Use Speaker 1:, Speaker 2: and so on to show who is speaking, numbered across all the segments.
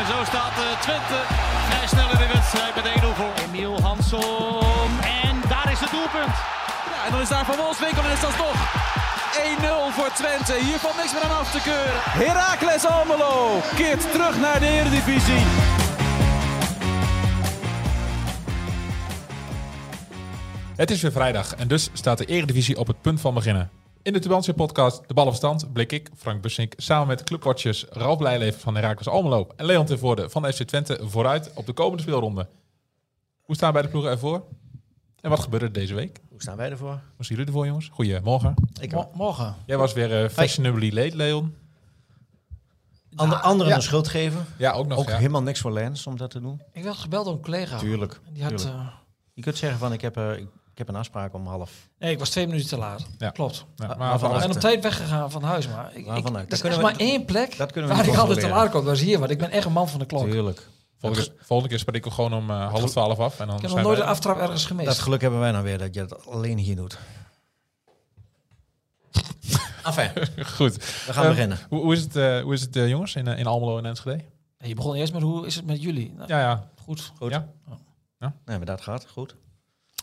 Speaker 1: En zo staat eh, Twente vrij snel in de wedstrijd met 1-0 voor. Emiel Hansom. En daar is het doelpunt.
Speaker 2: Ja, en dan is daar Van Wolfswinkel en is dat toch 1-0 voor Twente. Hier valt niks meer aan af te keuren. Heracles Almelo keert terug naar de Eredivisie.
Speaker 3: Het is weer vrijdag en dus staat de Eredivisie op het punt van beginnen. In de Tubantia podcast De Bal op Stand blik ik, Frank Bussink, samen met clubwatchers Ralf Blijleven van Heracles Almelo en Leon ten Voorde van FC Twente vooruit op de komende speelronde. Hoe staan beide ploegen ervoor? En wat gebeurde er deze week?
Speaker 4: Hoe staan wij ervoor?
Speaker 3: Hoe zien jullie ervoor, jongens? Goedemorgen.
Speaker 4: Ik
Speaker 2: Mo- morgen.
Speaker 3: Jij was weer eh, fashionably late, Leon.
Speaker 4: Ander, anderen
Speaker 5: ja.
Speaker 4: een schuld geven.
Speaker 3: Ja, ook nog.
Speaker 4: Ook
Speaker 3: ja.
Speaker 4: helemaal niks voor Lens om dat te doen.
Speaker 5: Ik werd gebeld door een collega.
Speaker 4: Tuurlijk.
Speaker 5: En Die had,
Speaker 4: tuurlijk.
Speaker 5: eh,
Speaker 4: Je kunt zeggen van ik heb, eh, ik, ik heb een afspraak om half.
Speaker 5: nee, ik was twee minuten te laat.
Speaker 3: Ja.
Speaker 5: Klopt.
Speaker 3: Ja, maar
Speaker 4: Maar
Speaker 3: van
Speaker 4: vanaf-
Speaker 5: En
Speaker 3: alles-
Speaker 5: op tijd weggegaan van huis. Maar ik,
Speaker 4: Waarvan
Speaker 5: ik, er
Speaker 4: uit? Dat
Speaker 5: is
Speaker 4: kunnen
Speaker 5: echt
Speaker 4: we-
Speaker 5: maar één plek
Speaker 4: dat kunnen we
Speaker 5: waar
Speaker 4: niet
Speaker 5: ik altijd te
Speaker 4: controleren.
Speaker 5: laat kom. Dat is hier, want ik ben echt een man van de klok.
Speaker 4: Tuurlijk.
Speaker 3: volgende, keer, volgende keer spreek ik gewoon om eh, half twaalf af. En dan
Speaker 5: Ik heb nog
Speaker 3: zijn
Speaker 5: nooit
Speaker 3: wij-
Speaker 5: een aftrap ergens
Speaker 4: Dat
Speaker 5: gemist.
Speaker 4: geluk hebben wij nou weer dat je dat alleen hier doet. Enfin, we
Speaker 3: Goed.
Speaker 4: gaan
Speaker 3: Eh,
Speaker 4: beginnen.
Speaker 3: Hoe, hoe is het, eh, hoe is het eh, jongens, in, eh, in Almelo en Enschede?
Speaker 5: je begon eerst met hoe is het met jullie? Nou,
Speaker 3: Ja, ja.
Speaker 5: Goed.
Speaker 4: Goed.
Speaker 3: ja.
Speaker 4: Nee, maar dat gaat goed.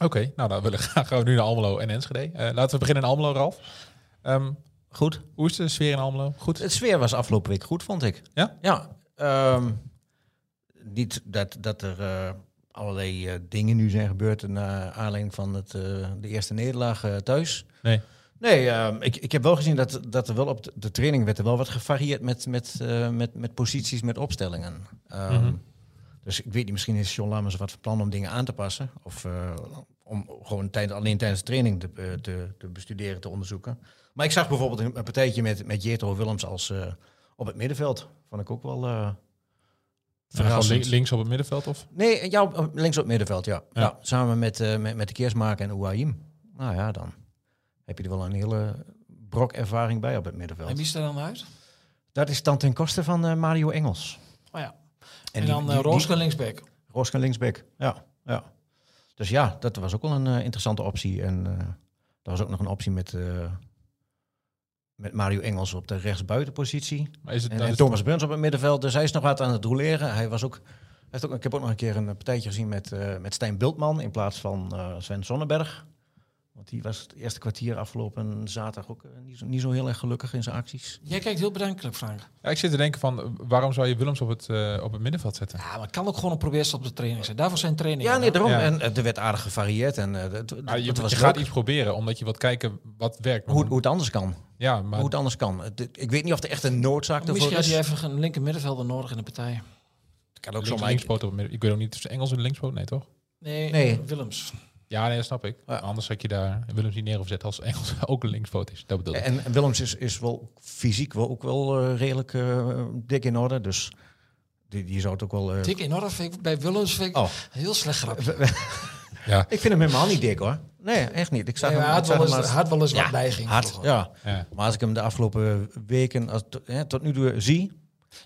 Speaker 3: Oké, nou dan willen we graag gaan we nu naar Almelo en Enschede. Eh, laten we beginnen in Almelo, Ralf. Ehm,
Speaker 4: Goed.
Speaker 3: hoe is de sfeer in Almelo? Goed?
Speaker 4: Het sfeer was afgelopen week goed, vond ik.
Speaker 3: Ja?
Speaker 4: Ja. ehm, niet dat, dat er eh, allerlei eh, dingen nu zijn gebeurd naar aanleiding van het, eh, de eerste nederlaag eh, thuis.
Speaker 3: Nee.
Speaker 4: Nee, ehm, ik, ik heb wel gezien dat, dat er wel op de, de training werd er wel wat gevarieerd met, met, eh, met, met posities, met opstellingen. Ehm,
Speaker 3: Mhm.
Speaker 4: Dus ik weet niet, misschien is John Lammers wat van plan om dingen aan te passen. Of eh, om gewoon tijd, alleen tijdens de training te, eh, te, te bestuderen, te onderzoeken. Maar ik zag bijvoorbeeld een, een partijtje met, met Jetro Willems als eh, op het middenveld. Vond ik ook wel eh
Speaker 3: En dan gewoon
Speaker 4: verrassend.
Speaker 3: lin- links op het middenveld of?
Speaker 4: nee, ja, op- op- links op het middenveld, ja.
Speaker 3: Ja.
Speaker 4: ja. samen met, eh, met, met de Keersmaker en Ouahim. Nou ja, dan heb je er wel een hele brok ervaring bij op het
Speaker 5: En
Speaker 4: middenveld.
Speaker 5: wie is er dan uit?
Speaker 4: Dat is dan ten koste van eh, Mario Engels.
Speaker 5: Oh ja.
Speaker 4: En
Speaker 5: En,
Speaker 4: die-
Speaker 5: dan
Speaker 4: die-
Speaker 5: uh,
Speaker 4: die-
Speaker 5: Rooske linksback.
Speaker 4: Roska linksback. Ja, ja. Dus ja, dat was ook wel een eh, interessante optie. En eh er was ook nog een optie met, eh, met Mario Engels op de rechtsbuitenpositie.
Speaker 3: Maar is het,
Speaker 4: En,
Speaker 3: dan
Speaker 4: en
Speaker 3: is-
Speaker 4: Thomas Bruns op het middenveld. Dus hij is nog wat aan het roleren. Hij was ook, hij heeft ook, ik heb ook nog een keer een partijtje gezien met, eh, met Stijn Bultman in plaats van eh, Sven Sonnenberg. Want die was het eerste kwartier afgelopen zaterdag ook eh, niet, zo, niet zo heel erg gelukkig in zijn acties.
Speaker 5: Jij kijkt heel bedenkelijk, Frank.
Speaker 3: Ja, ik zit te denken van, eh, waarom zou je Willems op het, eh, op het middenveld zetten?
Speaker 5: Ja, maar het kan ook gewoon een probeersel op de training zijn. Daarvoor zijn trainingen.
Speaker 4: Ja, nee, daarom.
Speaker 3: Ja.
Speaker 4: En eh, er werd aardig gevarieerd. En, eh, het-
Speaker 3: Maar Nou, je
Speaker 4: het was
Speaker 3: je gaat
Speaker 4: leuk.
Speaker 3: iets proberen, omdat je wilt kijken wat werkt. Maar
Speaker 4: hoe,
Speaker 3: dan-
Speaker 4: hoe het anders kan.
Speaker 3: ja, maar
Speaker 4: hoe het anders kan. Het- het- Ik weet niet of er echt een noodzaak ervoor
Speaker 5: Misschien had
Speaker 4: is.
Speaker 5: je even een linker middenvelder nodig in de partij.
Speaker 4: Het kan
Speaker 3: links,
Speaker 4: zomaar-
Speaker 3: linkspoot op het midden- Ik weet ook niet, tussen Engels en linkspoot? Nee, toch?
Speaker 5: Nee,
Speaker 4: Nee.
Speaker 5: Eh, Willems.
Speaker 3: Ja, nee, dat snap ik.
Speaker 4: Ja.
Speaker 3: Anders had je daar Willems niet neer hoeven zetten als Engels ook een linkspoot is. Dat bedoel ik.
Speaker 4: En en Willems is, is wel fysiek wel, ook wel eh, redelijk eh, dik in orde. Dus die, die zou het ook wel... eh,
Speaker 5: Dik enorm. Vind ik, bij Willems vind ik
Speaker 4: Oh.
Speaker 5: heel slecht grap.
Speaker 4: eh.
Speaker 3: Ja.
Speaker 4: ik vind hem helemaal niet dik hoor. Nee, echt niet. Ik zag
Speaker 5: Nee, maar
Speaker 4: hem,
Speaker 5: hij
Speaker 4: ik
Speaker 5: had
Speaker 4: zag
Speaker 5: wel eens,
Speaker 4: hem
Speaker 5: hij had wel eens
Speaker 4: Ja,
Speaker 5: wat neiging.
Speaker 4: hard,
Speaker 5: vroeger.
Speaker 4: ja.
Speaker 3: Ja.
Speaker 4: Maar als ik hem de afgelopen weken als, to- hè, tot nu toe zie...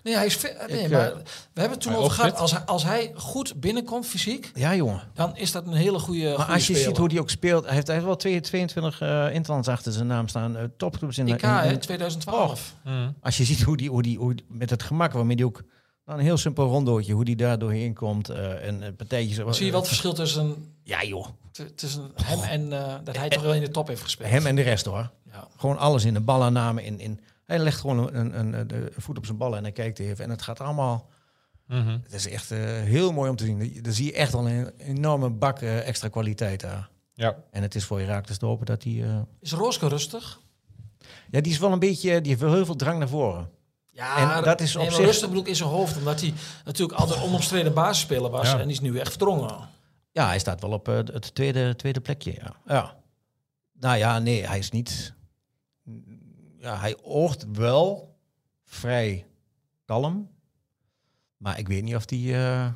Speaker 5: Nee, hij is fit. Nee,
Speaker 4: Ik,
Speaker 5: maar
Speaker 4: eh,
Speaker 5: we hebben het toen
Speaker 3: hij
Speaker 5: over
Speaker 3: ook
Speaker 5: gehad.
Speaker 3: fit.
Speaker 5: Als hij, als hij goed binnenkomt fysiek,
Speaker 4: Ja jongen.
Speaker 5: dan is dat een hele goede.
Speaker 4: Maar als je ziet hoe die ook speelt... Hij heeft, hij heeft wel 2- 22 eh interlands achter zijn naam staan. eh, topclubs in... de-
Speaker 5: IK,
Speaker 4: in- in- Oh.
Speaker 5: hè, 2012.
Speaker 3: Mm.
Speaker 4: Als je ziet hoe die, hoe die, hoe die- met het gemak waarmee die ook nou, een heel simpel rondootje, hoe die daar doorheen komt eh, en eh, partijtjes.
Speaker 5: Zie je wel het verschil tussen,
Speaker 4: Ja joh,
Speaker 5: t- tussen hem en eh, dat hij toch wel in de top heeft gespeeld?
Speaker 4: Oh. hem en de rest hoor.
Speaker 5: Ja.
Speaker 4: Gewoon alles in de ballaanname. In, in, hij legt gewoon een, een, een, de voet op zijn ballen en hij kijkt even. En het gaat allemaal,
Speaker 3: Mhm.
Speaker 4: het is echt eh, heel mooi om te zien. Daar zie je echt al een enorme bak eh, extra kwaliteit daar.
Speaker 3: Ja.
Speaker 4: En het is voor Herakles te hopen dat hij... eh,
Speaker 5: Is Rooske rustig?
Speaker 4: ja, die is wel een beetje, die heeft wel heel veel drang naar voren.
Speaker 5: Ja,
Speaker 4: En dat is op
Speaker 5: maar
Speaker 4: zich-
Speaker 5: rustig bedoel ik in zijn hoofd, omdat hij natuurlijk altijd onomstreden basisspeler was
Speaker 3: Ja.
Speaker 5: en die is nu echt verdrongen.
Speaker 4: Ja, hij staat wel op eh, het tweede, tweede plekje, ja. ja. Nou ja, nee, hij is niet... Ja, hij oogt wel vrij kalm. Maar ik weet niet of die, eh,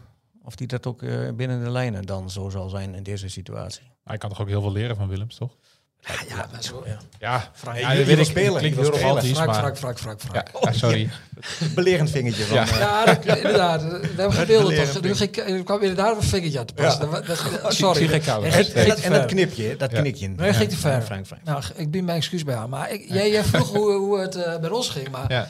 Speaker 4: of die dat ook eh, binnen de lijnen dan zo zal zijn in deze situatie.
Speaker 3: Hij kan toch ook heel veel leren van Willems, toch?
Speaker 5: Ja, ja, maar zo, ja.
Speaker 3: Ja,
Speaker 5: Frank,
Speaker 3: ja,
Speaker 4: je
Speaker 3: dat
Speaker 4: wil
Speaker 3: weet ik.
Speaker 4: spelen,
Speaker 3: Het
Speaker 4: je
Speaker 3: Klinkt
Speaker 4: wil
Speaker 3: heel
Speaker 4: spelen.
Speaker 3: romantisch,
Speaker 5: Frank,
Speaker 3: maar...
Speaker 5: Frank, Frank, Frank, Frank.
Speaker 3: Ja, ja, sorry.
Speaker 4: Belerend vingertje van...
Speaker 3: Ja.
Speaker 4: eh,
Speaker 5: Ja, dat, inderdaad. We hebben gebeelden
Speaker 4: leren
Speaker 5: toch. Nu ging- Er kwam inderdaad een vingertje aan te passen. Dat- dat- dat-
Speaker 3: zie
Speaker 5: sorry.
Speaker 3: geen kabels.
Speaker 5: Echt-
Speaker 4: Oh, en, dat,
Speaker 5: echt
Speaker 4: en dat
Speaker 5: ver.
Speaker 4: knipje, dat
Speaker 3: Ja.
Speaker 4: knikje.
Speaker 5: Nee, ging te ver.
Speaker 4: Frank, Frank.
Speaker 5: Nou, ik bied mijn excuus bij haar. Maar ik, jij, jij vroeg hoe, hoe het eh, met ons ging. Maar
Speaker 3: Ja.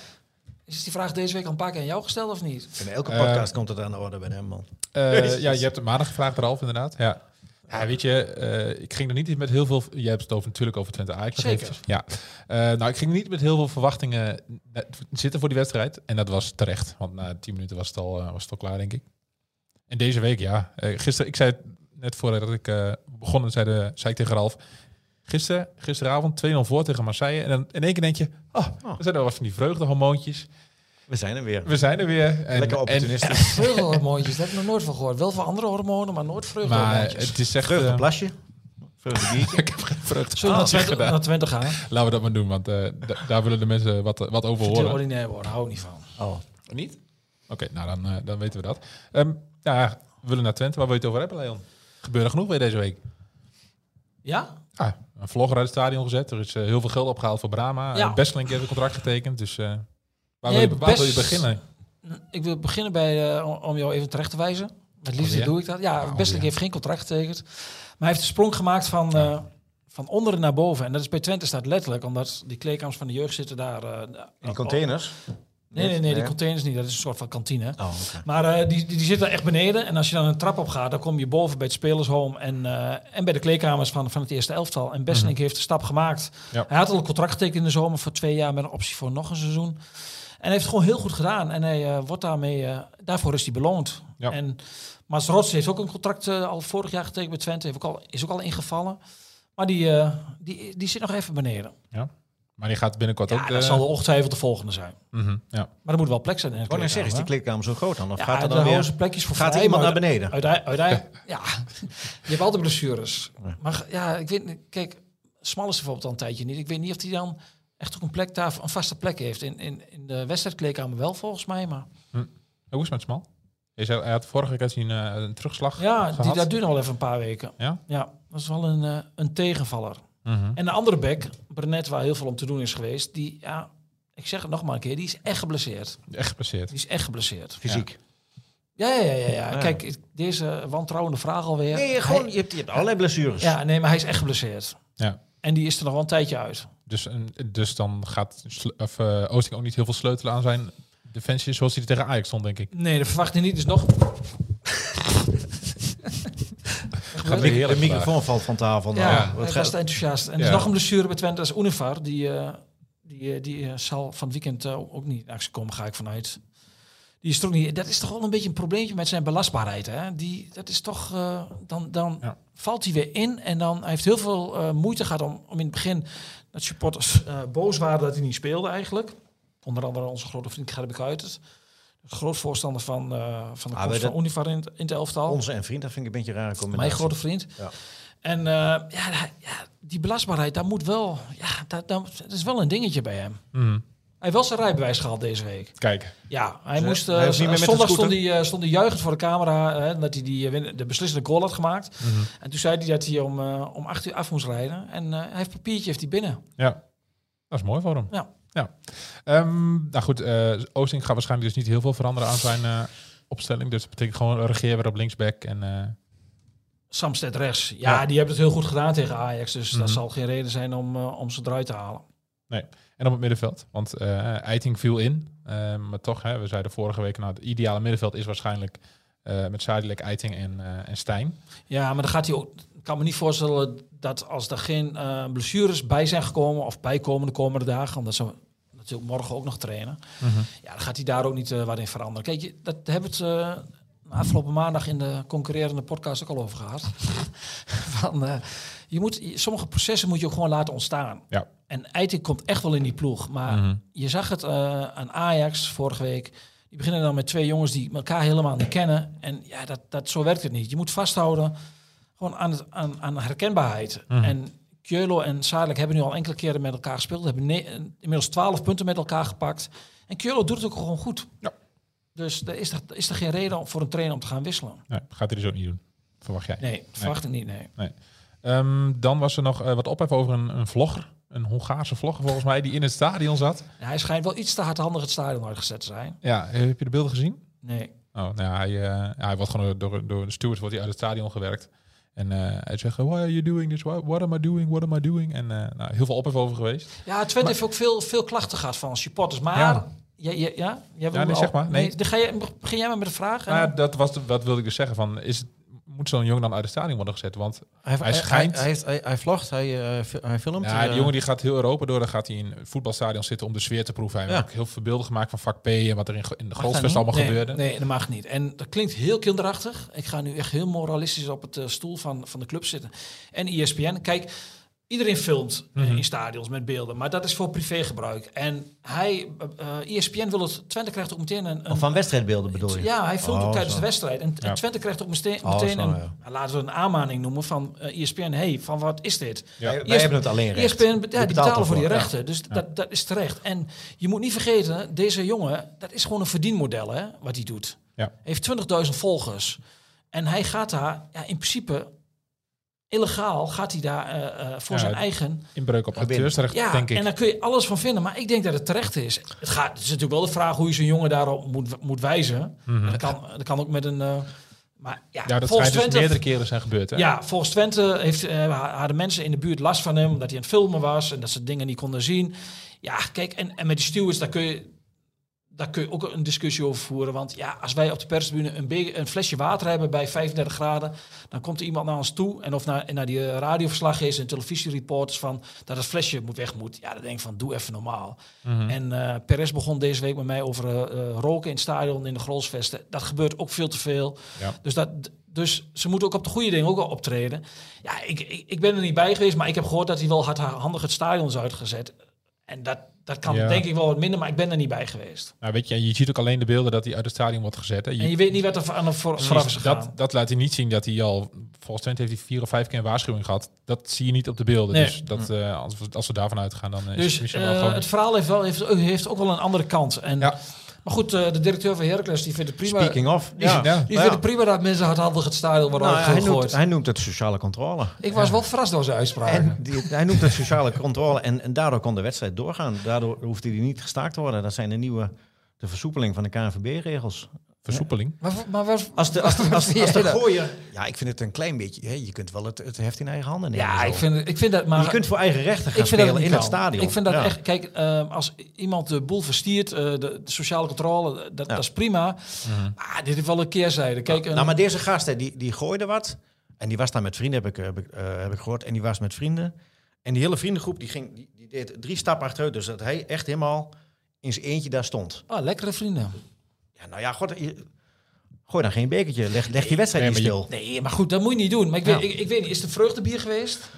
Speaker 5: Is die vraag deze week al een paar keer aan jou gesteld of niet?
Speaker 4: In elke
Speaker 3: Eh,
Speaker 4: podcast komt het aan de orde bij hem, man.
Speaker 3: Eh, ja, je hebt het maandag gevraagd, Ralf, inderdaad. Ja. Ja, weet je, eh, ik ging er niet met heel veel... Je hebt het over, natuurlijk over Twente Ajax. nog
Speaker 5: Zeker.
Speaker 3: eventjes. Ja. Eh, nou, ik ging niet met heel veel verwachtingen eh, net zitten voor die wedstrijd. En dat was terecht, want na tien minuten was het al, eh, was het al klaar, denk ik. En deze week, ja. Eh, gisteren, ik zei het net voordat ik eh, begon, zei, de, zei ik tegen Ralf... Gisteren, gisteravond 2-0 voor tegen Marseille. En dan in één keer denk je, oh, er zijn er wat van die vreugdehormoontjes.
Speaker 4: We zijn er weer.
Speaker 3: We zijn er weer. En,
Speaker 4: Lekker
Speaker 3: en,
Speaker 4: opportunistisch.
Speaker 5: Vreugdehormoontjes, daar heb ik nog nooit van gehoord. Wel van andere hormonen, maar nooit
Speaker 3: maar
Speaker 5: vreugdehormoontjes.
Speaker 3: het is echt...
Speaker 4: Vreugde
Speaker 3: eh,
Speaker 4: plasje. Vreugde biertje.
Speaker 3: ik heb geen vreugde.
Speaker 5: Zullen we naar Twente,
Speaker 3: gedaan.
Speaker 5: naar Twente gaan?
Speaker 3: Laten we dat maar doen, want eh, da- daar willen de mensen wat, wat over
Speaker 5: Te
Speaker 3: horen.
Speaker 5: ordinair worden, hou ik niet van.
Speaker 4: Oh.
Speaker 3: Niet? Oké, nou dan, eh, dan weten we dat. Ehm, nou ja, we willen naar Twente. Waar wil je het over hebben, Leon? Gebeurde genoeg weer deze week.
Speaker 5: Ja?
Speaker 3: Ah, een vlogger uit het stadion gezet. Er is eh, heel veel geld opgehaald voor Brama.
Speaker 5: Ja.
Speaker 3: Ja. Bestelink heeft een contract getekend. Dus eh,
Speaker 5: Nee,
Speaker 3: waar, wil je, waar
Speaker 5: Best-
Speaker 3: wil je beginnen?
Speaker 5: Ik wil beginnen bij, eh, om- om jou even terecht te wijzen. Met liefde
Speaker 3: Oh, ja?
Speaker 5: doe ik dat. Ja,
Speaker 3: Oh,
Speaker 5: Bestelink
Speaker 3: ja.
Speaker 5: heeft geen contract getekend. Maar hij heeft de sprong gemaakt van, eh, van onderen naar boven. En dat is bij Twente staat letterlijk, omdat die kleedkamers van de jeugd zitten daar. eh, Oh,
Speaker 4: In containers.
Speaker 5: Nee, nee, nee, die
Speaker 4: Ja.
Speaker 5: containers niet. Dat is een soort van kantine.
Speaker 4: Oh,
Speaker 5: Maar eh, die, die, die zit daar echt beneden. En als je dan een trap op gaat, dan kom je boven bij het spelershome en, eh, en bij de kleedkamers van, van het eerste elftal. En Besselink heeft de stap gemaakt.
Speaker 3: Mhm. Ja.
Speaker 5: Hij had al een contract getekend in de zomer voor twee jaar met een optie voor nog een seizoen. En hij heeft het gewoon heel goed gedaan. En hij eh, wordt daarmee, eh, daarvoor is hij beloond.
Speaker 3: Ja.
Speaker 5: En Masrots heeft ook een contract eh, al vorig jaar getekend bij Twente. Heeft ook al, is ook al ingevallen. Maar die, eh, die, die zit nog even beneden.
Speaker 3: Maar die gaat binnenkort
Speaker 5: Ja,
Speaker 3: ook...
Speaker 5: dat
Speaker 3: eh,
Speaker 5: zal ongetwijfeld de volgende zijn.
Speaker 3: mhm, ja.
Speaker 5: Maar er moet wel plek zijn in de
Speaker 4: Oh, dan zeg
Speaker 5: kleedkamer, hè?
Speaker 4: is die kleedkamer zo groot dan? Of
Speaker 5: Ja,
Speaker 4: gaat er
Speaker 5: daar
Speaker 4: dan
Speaker 5: houden
Speaker 4: weer...
Speaker 5: ze plekjes voor
Speaker 4: Gaat
Speaker 5: vrij,
Speaker 4: iemand
Speaker 5: maar
Speaker 4: naar beneden?
Speaker 5: Uiteindelijk, uiteindelijk, ja. Je hebt altijd blessures.
Speaker 4: Ja.
Speaker 5: Maar g- ja, ik weet niet. Kijk, Smal is er bijvoorbeeld al een tijdje niet. Ik weet niet of hij dan echt ook een plek daar, een vaste plek heeft. In, in, in de wedstrijdkleedkamer wel volgens mij, maar
Speaker 3: Hoe is het met Smal? Hij zei- hij had vorige week had hij een, eh, een terugslag
Speaker 5: ja, die,
Speaker 3: gehad.
Speaker 5: dat duurde wel even een paar weken.
Speaker 3: Ja?
Speaker 5: Ja, dat is wel een, eh, een tegenvaller.
Speaker 3: Mhm.
Speaker 5: En de andere bek, Brenet, waar heel veel om te doen is geweest, die, ja, ik zeg het nog maar een keer, die is echt geblesseerd.
Speaker 3: Echt gepasseerd.
Speaker 5: Die is echt geblesseerd.
Speaker 4: Fysiek.
Speaker 5: Ja, ja, ja, ja. ja.
Speaker 4: Ja.
Speaker 5: Kijk, ik- deze wantrouwende vraag alweer.
Speaker 4: Nee,
Speaker 5: Hij-
Speaker 4: gewoon, je hebt, je hebt allerlei blessures.
Speaker 5: Ja, nee, maar hij is echt geblesseerd.
Speaker 3: Ja.
Speaker 5: En die is er nog wel een tijdje uit.
Speaker 3: Dus, en- dus dan gaat Sl- of, eh, Oosting ook niet heel veel sleutelen aan zijn defensie zoals hij er tegen Ajax stond, denk ik.
Speaker 5: Nee, dat verwacht hij niet. Dus nog.
Speaker 3: Gaat
Speaker 4: De,
Speaker 3: weer heerlijk
Speaker 4: microfoon valt van tafel. Nou,
Speaker 5: Ja,
Speaker 4: wat
Speaker 5: hij
Speaker 4: gaat-
Speaker 5: was te enthousiast. En er
Speaker 3: Ja.
Speaker 5: is nog een blessure bij Twente. Dat is Univar. Die, eh, die, eh, die eh, zal van het weekend eh, ook niet in actie komen, ga ik vanuit. Die is toch niet, dat is toch wel een beetje een probleempje met zijn belastbaarheid. Hè? Die, dat is toch, eh, dan, dan
Speaker 3: Ja.
Speaker 5: valt hij weer in. En dan hij heeft heel veel eh, moeite gehad om, om in het begin dat supporters eh, boos waren dat hij niet speelde eigenlijk. Onder andere onze grote vriend Gerben Kuitert. Groot voorstander van, eh, van de
Speaker 4: Ah,
Speaker 5: komst
Speaker 4: wij
Speaker 5: van Univar in, het- in het elftal.
Speaker 4: Onze en vriend, dat vind ik een beetje een rare commentaar.
Speaker 5: Mijn grote vriend.
Speaker 4: Ja.
Speaker 5: En eh, ja, hij- ja, die belastbaarheid, daar moet wel, ja, dat, dat, dat is wel een dingetje bij hem.
Speaker 3: Mhm.
Speaker 5: Hij heeft wel zijn rijbewijs gehaald deze week.
Speaker 3: Kijk,
Speaker 5: Ja, hij
Speaker 4: Dus,
Speaker 5: moest.
Speaker 4: eh,
Speaker 5: eh,
Speaker 4: hij hoeft niet meer met de
Speaker 5: zondag stond
Speaker 4: scooter?
Speaker 5: hij, eh, stond hij juichend voor de camera. Hè, dat hij die, eh, win- de beslissende goal had gemaakt.
Speaker 3: Mhm.
Speaker 5: En toen zei hij dat hij om, eh, om acht uur af moest rijden. En eh, hij heeft papiertje heeft hij binnen. Nou,
Speaker 3: ja, dat is mooi voor hem.
Speaker 5: Ja.
Speaker 3: ja. Ehm, nou goed, eh, Oosting gaat waarschijnlijk dus niet heel veel veranderen aan zijn eh, opstelling. Dus dat betekent gewoon regeer weer op linksback. En, eh,
Speaker 5: Samsted rechts. Ja,
Speaker 3: Ja.
Speaker 5: die hebben het heel goed gedaan tegen Ajax. Dus
Speaker 3: Mhm.
Speaker 5: dat zal geen reden zijn om, eh, om ze eruit te halen.
Speaker 3: en op het middenveld, want eh Eiting viel in. Eh, maar toch, hè, we zeiden vorige week, nou, het ideale middenveld is waarschijnlijk eh, met Sadilek, Eiting en, eh, en Stijn.
Speaker 5: Ja, maar dan gaat hij ook. Ik kan me niet voorstellen dat als er geen eh, blessures bij zijn gekomen of bijkomen de komende dagen, omdat ze natuurlijk morgen ook nog trainen, ja, dan gaat hij daar ook niet eh, wat in veranderen. Kijk, je- dat hebben we het eh, afgelopen maandag in de concurrerende podcast ook al over gehad. Van, eh, je moet, je- sommige processen moet je ook gewoon laten ontstaan.
Speaker 3: Ja.
Speaker 5: En Eiting komt echt wel in die ploeg, maar
Speaker 3: Mhm.
Speaker 5: je zag het eh, aan Ajax vorige week. Die beginnen dan met twee jongens die elkaar helemaal niet kennen. En ja, dat, dat, zo werkt het niet. Je moet vasthouden gewoon aan, het, aan, aan herkenbaarheid.
Speaker 3: Mhm.
Speaker 5: En Keulo en Sadelijk hebben nu al enkele keren met elkaar gespeeld. Hebben ne- eh, inmiddels twaalf punten met elkaar gepakt. En Keulo doet het ook gewoon goed.
Speaker 3: Ja.
Speaker 5: Dus er is, er, is er geen reden om- voor een trainer om te gaan wisselen.
Speaker 3: Nee, gaat hij dus ook niet doen, verwacht jij.
Speaker 5: Nee, dat verwacht ik niet, nee.
Speaker 3: Ehm, dan was er nog eh, wat ophef over een, een vlogger. Een Hongaarse vlogger volgens mij, die in het stadion zat.
Speaker 5: Hij schijnt wel iets te hardhandig het stadion uitgezet te zijn.
Speaker 3: Ja, heb je de beelden gezien?
Speaker 5: Nee.
Speaker 3: Oh, nou, ja, hij, eh, hij wordt gewoon door, door de stewards wordt hij uit het stadion gewerkt. En eh, hij zegt, why are you doing this? Why- What am I doing? What am I doing? En eh, nou, heel veel ophef over geweest.
Speaker 5: Ja, Twente heeft ook veel, veel klachten gehad van supporters. Maar
Speaker 3: Ja.
Speaker 5: Ja, ja, ja? Jij wil
Speaker 3: Ja, nee,
Speaker 5: al-
Speaker 3: zeg maar. Nee.
Speaker 5: dan ga je, begin jij maar met de vraag. en
Speaker 3: Nou ja,
Speaker 5: dan-
Speaker 3: dat, was de- dat wilde ik dus zeggen. Van, is het, moet zo'n jongen dan uit het stadion worden gezet? Want
Speaker 4: Hij,
Speaker 3: Hij schijnt-
Speaker 4: Hij, hij, heeft- hij, hij vlogt, hij, eh, fi- hij filmt.
Speaker 3: ja, die
Speaker 4: eh,
Speaker 3: jongen die gaat heel Europa door. Dan gaat hij in een voetbalstadion zitten om de sfeer te proeven. Hij
Speaker 4: Ja.
Speaker 3: heeft ook heel veel beelden gemaakt van vak P en wat er in, in de Goalsfest
Speaker 4: niet?
Speaker 3: allemaal
Speaker 5: nee,
Speaker 3: gebeurde.
Speaker 5: Nee, dat mag niet. En dat klinkt heel kinderachtig. Ik ga nu echt heel moralistisch op het eh, stoel van, van de club zitten. En E ESPN, kijk, iedereen filmt eh, in stadions met beelden, maar dat is voor privégebruik. En hij, eh, eh, ESPN wil het, Twente krijgt ook meteen een...
Speaker 4: Of
Speaker 5: een-
Speaker 4: van wedstrijdbeelden bedoel je?
Speaker 5: ja, hij filmt
Speaker 4: Oh,
Speaker 5: ook tijdens
Speaker 4: zo.
Speaker 5: de wedstrijd. En, en
Speaker 3: Ja.
Speaker 5: Twente krijgt ook meteen,
Speaker 4: Oh,
Speaker 5: meteen
Speaker 4: zo,
Speaker 5: een,
Speaker 4: ja.
Speaker 5: nou, laten we een aanmaning noemen van eh, ESPN. hey, van wat is dit?
Speaker 3: Ja.
Speaker 4: Wij, wij
Speaker 5: Eerst-
Speaker 4: hebben het alleen recht.
Speaker 5: ESPN, ja, die
Speaker 4: betaalt
Speaker 5: betalen voor die
Speaker 4: ervoor, ja.
Speaker 5: rechten. Dus dat, dat is terecht. En je moet niet vergeten, deze jongen, dat is gewoon een verdienmodel, hè, wat hij doet.
Speaker 3: Ja.
Speaker 5: Heeft 20.000 volgers. En hij gaat daar, ja, in principe, illegaal gaat hij daar eh, eh, voor
Speaker 3: Ja,
Speaker 5: zijn
Speaker 3: het-
Speaker 5: eigen...
Speaker 3: Inbreuk op
Speaker 4: Gebinnen.
Speaker 3: auteursrecht,
Speaker 5: Ja,
Speaker 3: denk ik.
Speaker 5: en daar kun je alles van vinden. Maar ik denk dat het terecht is. Het, gaat, het is natuurlijk wel de vraag hoe je zo'n jongen daarop moet, moet wijzen. dat, kan, dat kan ook met een... eh, maar ja,
Speaker 3: ja, dat
Speaker 5: volgens
Speaker 3: schijnt dus
Speaker 5: Twente
Speaker 3: meerdere keren zijn gebeurd. Hè?
Speaker 5: ja, volgens Twente heeft, eh, ha- hadden mensen in de buurt last van hem, omdat hij aan het filmen was en dat ze dingen niet konden zien. Ja, kijk, en, en met die stewards, daar kun, je, daar kun je ook een discussie over voeren. Want ja, als wij op de perstribune een, be- een flesje water hebben bij 35 graden, dan komt er iemand naar ons toe en of naar, en naar die eh, radioverslaggevers en televisiereporters van dat het flesje moet weg moet. Ja, dan denk ik van, doe even normaal.
Speaker 3: Mhm.
Speaker 5: En eh Perez begon deze week met mij over eh, eh, roken in het stadion, in de grolsvesten. Dat gebeurt ook veel te veel.
Speaker 3: Ja.
Speaker 5: Dus, dat, dus ze moeten ook op de goede dingen ook al optreden. Ja, ik, ik, ik ben er niet bij geweest, maar ik heb gehoord dat hij wel hardhandig het stadion is uitgezet. En dat, dat kan
Speaker 3: Ja.
Speaker 5: denk ik wel wat minder, maar ik ben er niet bij geweest.
Speaker 3: Nou, weet je, en je ziet ook alleen de beelden dat hij uit het stadion wordt gezet. Hè? Je-
Speaker 5: En je weet niet wat er aan de voor,
Speaker 3: Precies,
Speaker 5: vooraf is gegaan.
Speaker 3: dat, dat laat hij niet zien dat hij al... Volgens Twente heeft hij vier of vijf keer een waarschuwing gehad. Dat zie je niet op de beelden.
Speaker 5: Nee. Hm.
Speaker 3: Dus dat, eh, als, we, als we daarvan uitgaan, dan eh, is het
Speaker 5: dus
Speaker 3: misschien
Speaker 5: eh,
Speaker 3: wel gewoon...
Speaker 5: het verhaal heeft, wel, heeft, heeft ook wel een andere kant. En,
Speaker 3: Ja.
Speaker 5: Maar goed, eh, de directeur van Heracles die vindt het prima.
Speaker 4: Speaking of.
Speaker 5: Die,
Speaker 4: Ja.
Speaker 5: die
Speaker 3: Ja.
Speaker 5: vindt het prima dat mensen hardhandig het stadion worden
Speaker 4: Nou, hij, noemt,
Speaker 5: uitgegooid.
Speaker 4: hij noemt het sociale controle.
Speaker 5: ik was wel verrast door zijn uitspraak.
Speaker 4: En die, hij noemt het sociale controle. En, en daardoor kon de wedstrijd doorgaan. Daardoor hoefde hij niet gestaakt te worden. Dat zijn de nieuwe... De versoepeling van de KNVB-regels.
Speaker 3: Versoepeling.
Speaker 5: maar maar wat-
Speaker 4: Als de, als de, als de,
Speaker 5: Vind
Speaker 4: als de
Speaker 5: jij dat?
Speaker 4: gooier... Ja, ik vind het een klein beetje... Hè, je kunt wel het, het heft in eigen handen nemen.
Speaker 5: ja,
Speaker 4: zo.
Speaker 5: ik vind, ik vind dat... Maar,
Speaker 4: je kunt voor eigen rechten gaan
Speaker 5: ik vind dat
Speaker 4: spelen
Speaker 5: niet
Speaker 4: in het
Speaker 5: kan.
Speaker 4: stadion.
Speaker 5: Ik vind dat
Speaker 4: Ja.
Speaker 5: echt, kijk, eh, als iemand de boel verstiert, eh, de, de sociale controle, dat, dat is prima. Maar dit heeft wel een keerzijde. Kijk, een-
Speaker 4: Mhm. Nou, maar deze gast, hè, die, die gooide wat. En die was daar met vrienden, heb ik, heb, ik, eh, heb ik gehoord. En die was met vrienden. En die hele vriendengroep, die, ging, die, die deed drie stappen achteruit. Dus dat hij echt helemaal in zijn eentje daar stond.
Speaker 5: ah, lekkere vrienden.
Speaker 4: Ja, nou ja, god, je- gooi dan geen bekertje. Leg, leg die wedstrijd
Speaker 3: Nee,
Speaker 4: niet
Speaker 3: maar
Speaker 4: stil.
Speaker 5: Nee, maar goed, dat moet je niet doen. Maar ik,
Speaker 4: Ja.
Speaker 5: weet, ik, ik weet niet, is het een vreugdebier geweest?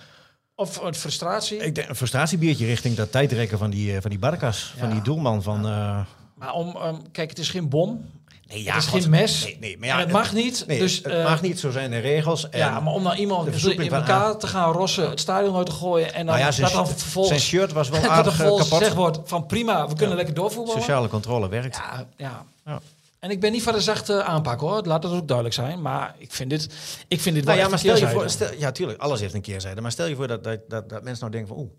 Speaker 5: Of een frustratie?
Speaker 4: Ik denk een frustratiebiertje richting dat tijdrekken van die, eh, van die Barkas. Van
Speaker 5: Ja.
Speaker 4: die doelman van... eh,
Speaker 5: maar om, ehm, kijk, het is geen bom.
Speaker 4: nee,
Speaker 5: het is
Speaker 4: god.
Speaker 5: geen mes.
Speaker 4: Nee, nee, maar ja,
Speaker 5: en het mag niet.
Speaker 4: nee,
Speaker 5: dus,
Speaker 4: het
Speaker 5: eh,
Speaker 4: mag niet, zo zijn de regels. En,
Speaker 5: Ja, maar om dan
Speaker 4: de
Speaker 5: iemand in
Speaker 4: versoepeling van ah.
Speaker 5: elkaar te gaan rossen, het stadion uit te gooien en dan,
Speaker 4: nou ja, zijn,
Speaker 5: dat dan
Speaker 4: zijn
Speaker 5: vervolgens,
Speaker 4: shirt was wel
Speaker 5: dat er
Speaker 4: aardig eh,
Speaker 5: vervolgens
Speaker 4: kapot.
Speaker 5: gezegd wordt van prima, we kunnen lekker doorvoetballen.
Speaker 4: Sociale controle werkt.
Speaker 5: Ja, ja.
Speaker 4: Ja.
Speaker 5: En ik ben niet van de zachte aanpak hoor, laat dat ook duidelijk zijn. Maar ik vind dit, ik vind dit wel
Speaker 4: Nou ja,
Speaker 5: echt
Speaker 4: maar
Speaker 5: een
Speaker 4: stel je voor,
Speaker 5: keerzijde.
Speaker 4: stel, ja, tuurlijk, alles heeft een keerzijde. Maar stel je voor dat, dat, dat, dat mensen nou denken van, oeh,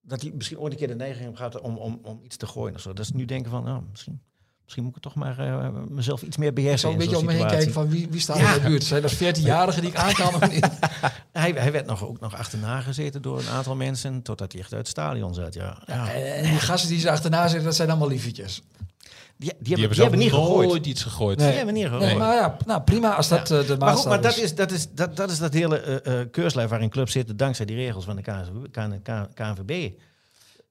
Speaker 4: dat die misschien ooit een keer de neiging hebben gehad om, om, om iets te gooien of zo. Dat ze nu denken van, nou, misschien, misschien moet ik het toch maar eh, mezelf iets meer
Speaker 5: Ik zal
Speaker 4: beheersen
Speaker 5: een
Speaker 4: in
Speaker 5: beetje
Speaker 4: zo'n
Speaker 5: om me heen
Speaker 4: situatie.
Speaker 5: kijken van wie, wie staat
Speaker 4: Ja.
Speaker 5: in de buurt. Zijn dat 14-jarigen die ik aan kan of niet?
Speaker 4: Hij, hij werd nog, ook nog achterna gezeten door een aantal mensen, totdat hij echt uit het stadion zat, ja. ja. Die,
Speaker 5: En die gasten die ze achterna zitten, dat zijn allemaal liefietjes.
Speaker 4: die, hebben,
Speaker 3: Die hebben
Speaker 4: die
Speaker 3: zelf
Speaker 4: hebben niet gegooid.
Speaker 3: nooit iets gegooid.
Speaker 4: Die hebben niet gegooid.
Speaker 5: Nee, maar ja, nou prima als dat eh, de
Speaker 4: Maar goed,
Speaker 5: maatstaf
Speaker 4: maar dat
Speaker 5: is.
Speaker 4: is dat, is, dat, dat, is dat hele eh eh, keurslijf waarin clubs zitten, dankzij die regels van de KNVB. KNVB.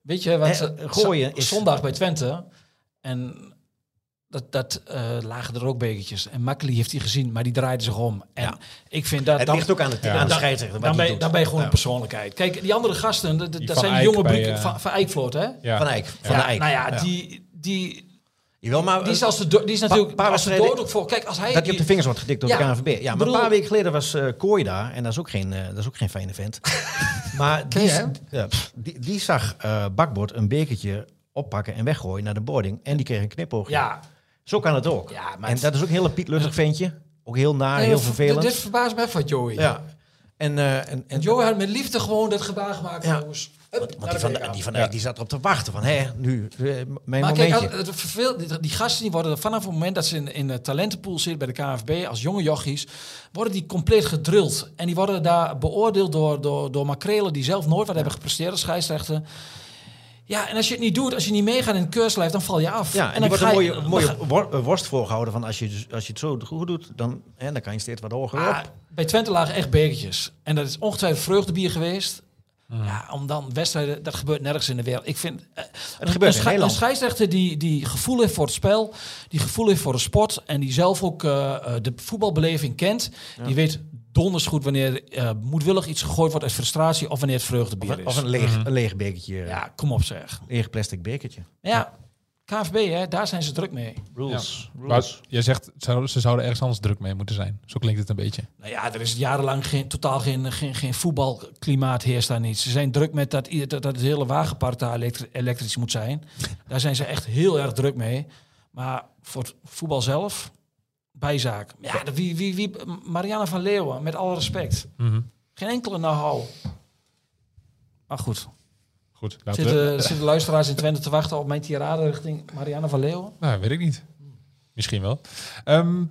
Speaker 5: Weet je, wat
Speaker 4: Eh,
Speaker 5: ze-
Speaker 4: gooien
Speaker 5: z-
Speaker 4: is-
Speaker 5: zondag bij Twente en dat, dat eh, lagen er ook bekertjes. En Makkeli heeft die gezien, maar die draaide zich om. En
Speaker 4: Ja.
Speaker 5: ik vind dat...
Speaker 4: Het
Speaker 5: dan-
Speaker 4: ligt ook aan de,
Speaker 3: Ja.
Speaker 4: aan de
Speaker 5: Dan-
Speaker 4: scheidsrechter. wat
Speaker 5: Dan
Speaker 4: die
Speaker 5: ben, je-
Speaker 4: doet.
Speaker 5: dan ben je gewoon
Speaker 4: Ja.
Speaker 5: een persoonlijkheid. Kijk, die andere gasten, dat- dat
Speaker 3: Van
Speaker 5: zijn
Speaker 3: Eyck
Speaker 5: jonge
Speaker 3: bij,
Speaker 5: blikken
Speaker 3: eh,
Speaker 5: van, van Eikvloot, hè?
Speaker 3: Ja.
Speaker 4: Van Eyck. Van
Speaker 5: Ja,
Speaker 4: de Eyck.
Speaker 5: Nou ja, Die, die,
Speaker 4: Jawel, maar,
Speaker 5: die, is
Speaker 4: eh,
Speaker 5: als de, do- die is natuurlijk
Speaker 4: paar
Speaker 5: als de
Speaker 4: wedstrijden-
Speaker 5: dood ook voor. Kijk, als hij...
Speaker 4: dat je op de
Speaker 5: die-
Speaker 4: vingers wordt gedikt door
Speaker 5: Ja,
Speaker 4: de KNVB. Ja, maar
Speaker 5: bedoel-
Speaker 4: een paar weken geleden was eh Kooi daar. En dat is ook geen, eh, dat is ook geen fijne vent. maar die,
Speaker 5: je hem?
Speaker 4: ja, pff, die, die zag eh Bakbord een bekertje oppakken en weggooien naar de boarding. En die kreeg een knipoogje.
Speaker 5: ja,
Speaker 4: Zo kan het ook.
Speaker 5: Ja, maar
Speaker 4: en
Speaker 5: het-
Speaker 4: dat is ook een hele pietlustig ventje. Ook heel naar,
Speaker 5: Nee,
Speaker 4: Ah, heel
Speaker 5: dit-
Speaker 4: vervelend.
Speaker 5: Dit verbaast me van Joey.
Speaker 4: ja. En, eh, en, en
Speaker 5: Joey had met liefde gewoon dat gebaar gemaakt.
Speaker 4: Ja.
Speaker 5: jongens. Hup,
Speaker 4: Want
Speaker 5: naar
Speaker 4: die
Speaker 5: de
Speaker 4: van, de,
Speaker 5: beker.
Speaker 4: die van Eyck, die zat erop te wachten. Van, hè, nu, eh, m- mijn
Speaker 5: Maar kijk,
Speaker 4: momentje.
Speaker 5: als- het verveel- die- die gasten die worden vanaf het moment dat ze in, in de talentenpool zitten bij de KNVB als jonge jochies, worden die compleet gedrild. En die worden daar beoordeeld door, door, door makrelen die zelf nooit wat hebben gepresteerd als scheidsrechter. Ja, en als je het niet doet, als je niet meegaat in het keurslijf, dan val je af.
Speaker 4: Ja, en,
Speaker 5: dan
Speaker 4: die wordt een
Speaker 5: ga je-
Speaker 4: mooie,
Speaker 5: dan
Speaker 4: mooie
Speaker 5: ga-
Speaker 4: wor- eh, worst voorgehouden van als je, dus- als je het zo goed doet, dan, hè, dan kan je steeds wat hoger
Speaker 5: Ah,
Speaker 4: op.
Speaker 5: bij Twente lagen echt bekertjes. En dat is ongetwijfeld vreugdebier geweest.
Speaker 4: Ah.
Speaker 5: Ja, om dan wedstrijden, dat gebeurt nergens in de wereld. Ik vind, eh, een-
Speaker 4: gebeurt in
Speaker 5: een,
Speaker 4: Nederland.
Speaker 5: een scheidsrechter die, die gevoel heeft voor het spel, die gevoel heeft voor de sport en die zelf ook eh, eh, de voetbalbeleving kent, die weet donders goed wanneer eh, moedwillig iets gegooid wordt uit frustratie of wanneer het
Speaker 4: Of,
Speaker 5: vreugdebier
Speaker 4: een- of
Speaker 5: is.
Speaker 4: een leeg, een leeg bekertje.
Speaker 5: Ja, kom op zeg.
Speaker 4: Leeg plastic bekertje.
Speaker 5: Ja, KVB, hè, daar zijn ze druk mee.
Speaker 4: Rules.
Speaker 3: Maar
Speaker 4: Rules.
Speaker 3: jij zegt, zou- ze zouden ergens anders druk mee moeten zijn. Zo klinkt het een beetje.
Speaker 5: Nou ja, er is jarenlang geen, totaal geen, geen, geen voetbalklimaat heerst daar niet. Ze zijn druk met dat, i- dat, dat het hele wagenpark daar elektri- elektrisch moet zijn. Daar zijn ze echt heel erg druk mee. Maar voor het voetbal zelf, bijzaak. Ja, de- wie, wie, wie, Marianne van Leeuwen, met alle respect.
Speaker 3: Mhm.
Speaker 5: Geen enkele nou Maar goed,
Speaker 3: Goed, laten we...
Speaker 5: zitten, zitten luisteraars in Twente te wachten op mijn tirade richting Marianne van Leeuwen?
Speaker 3: Nou, weet ik niet. Misschien wel. Ehm,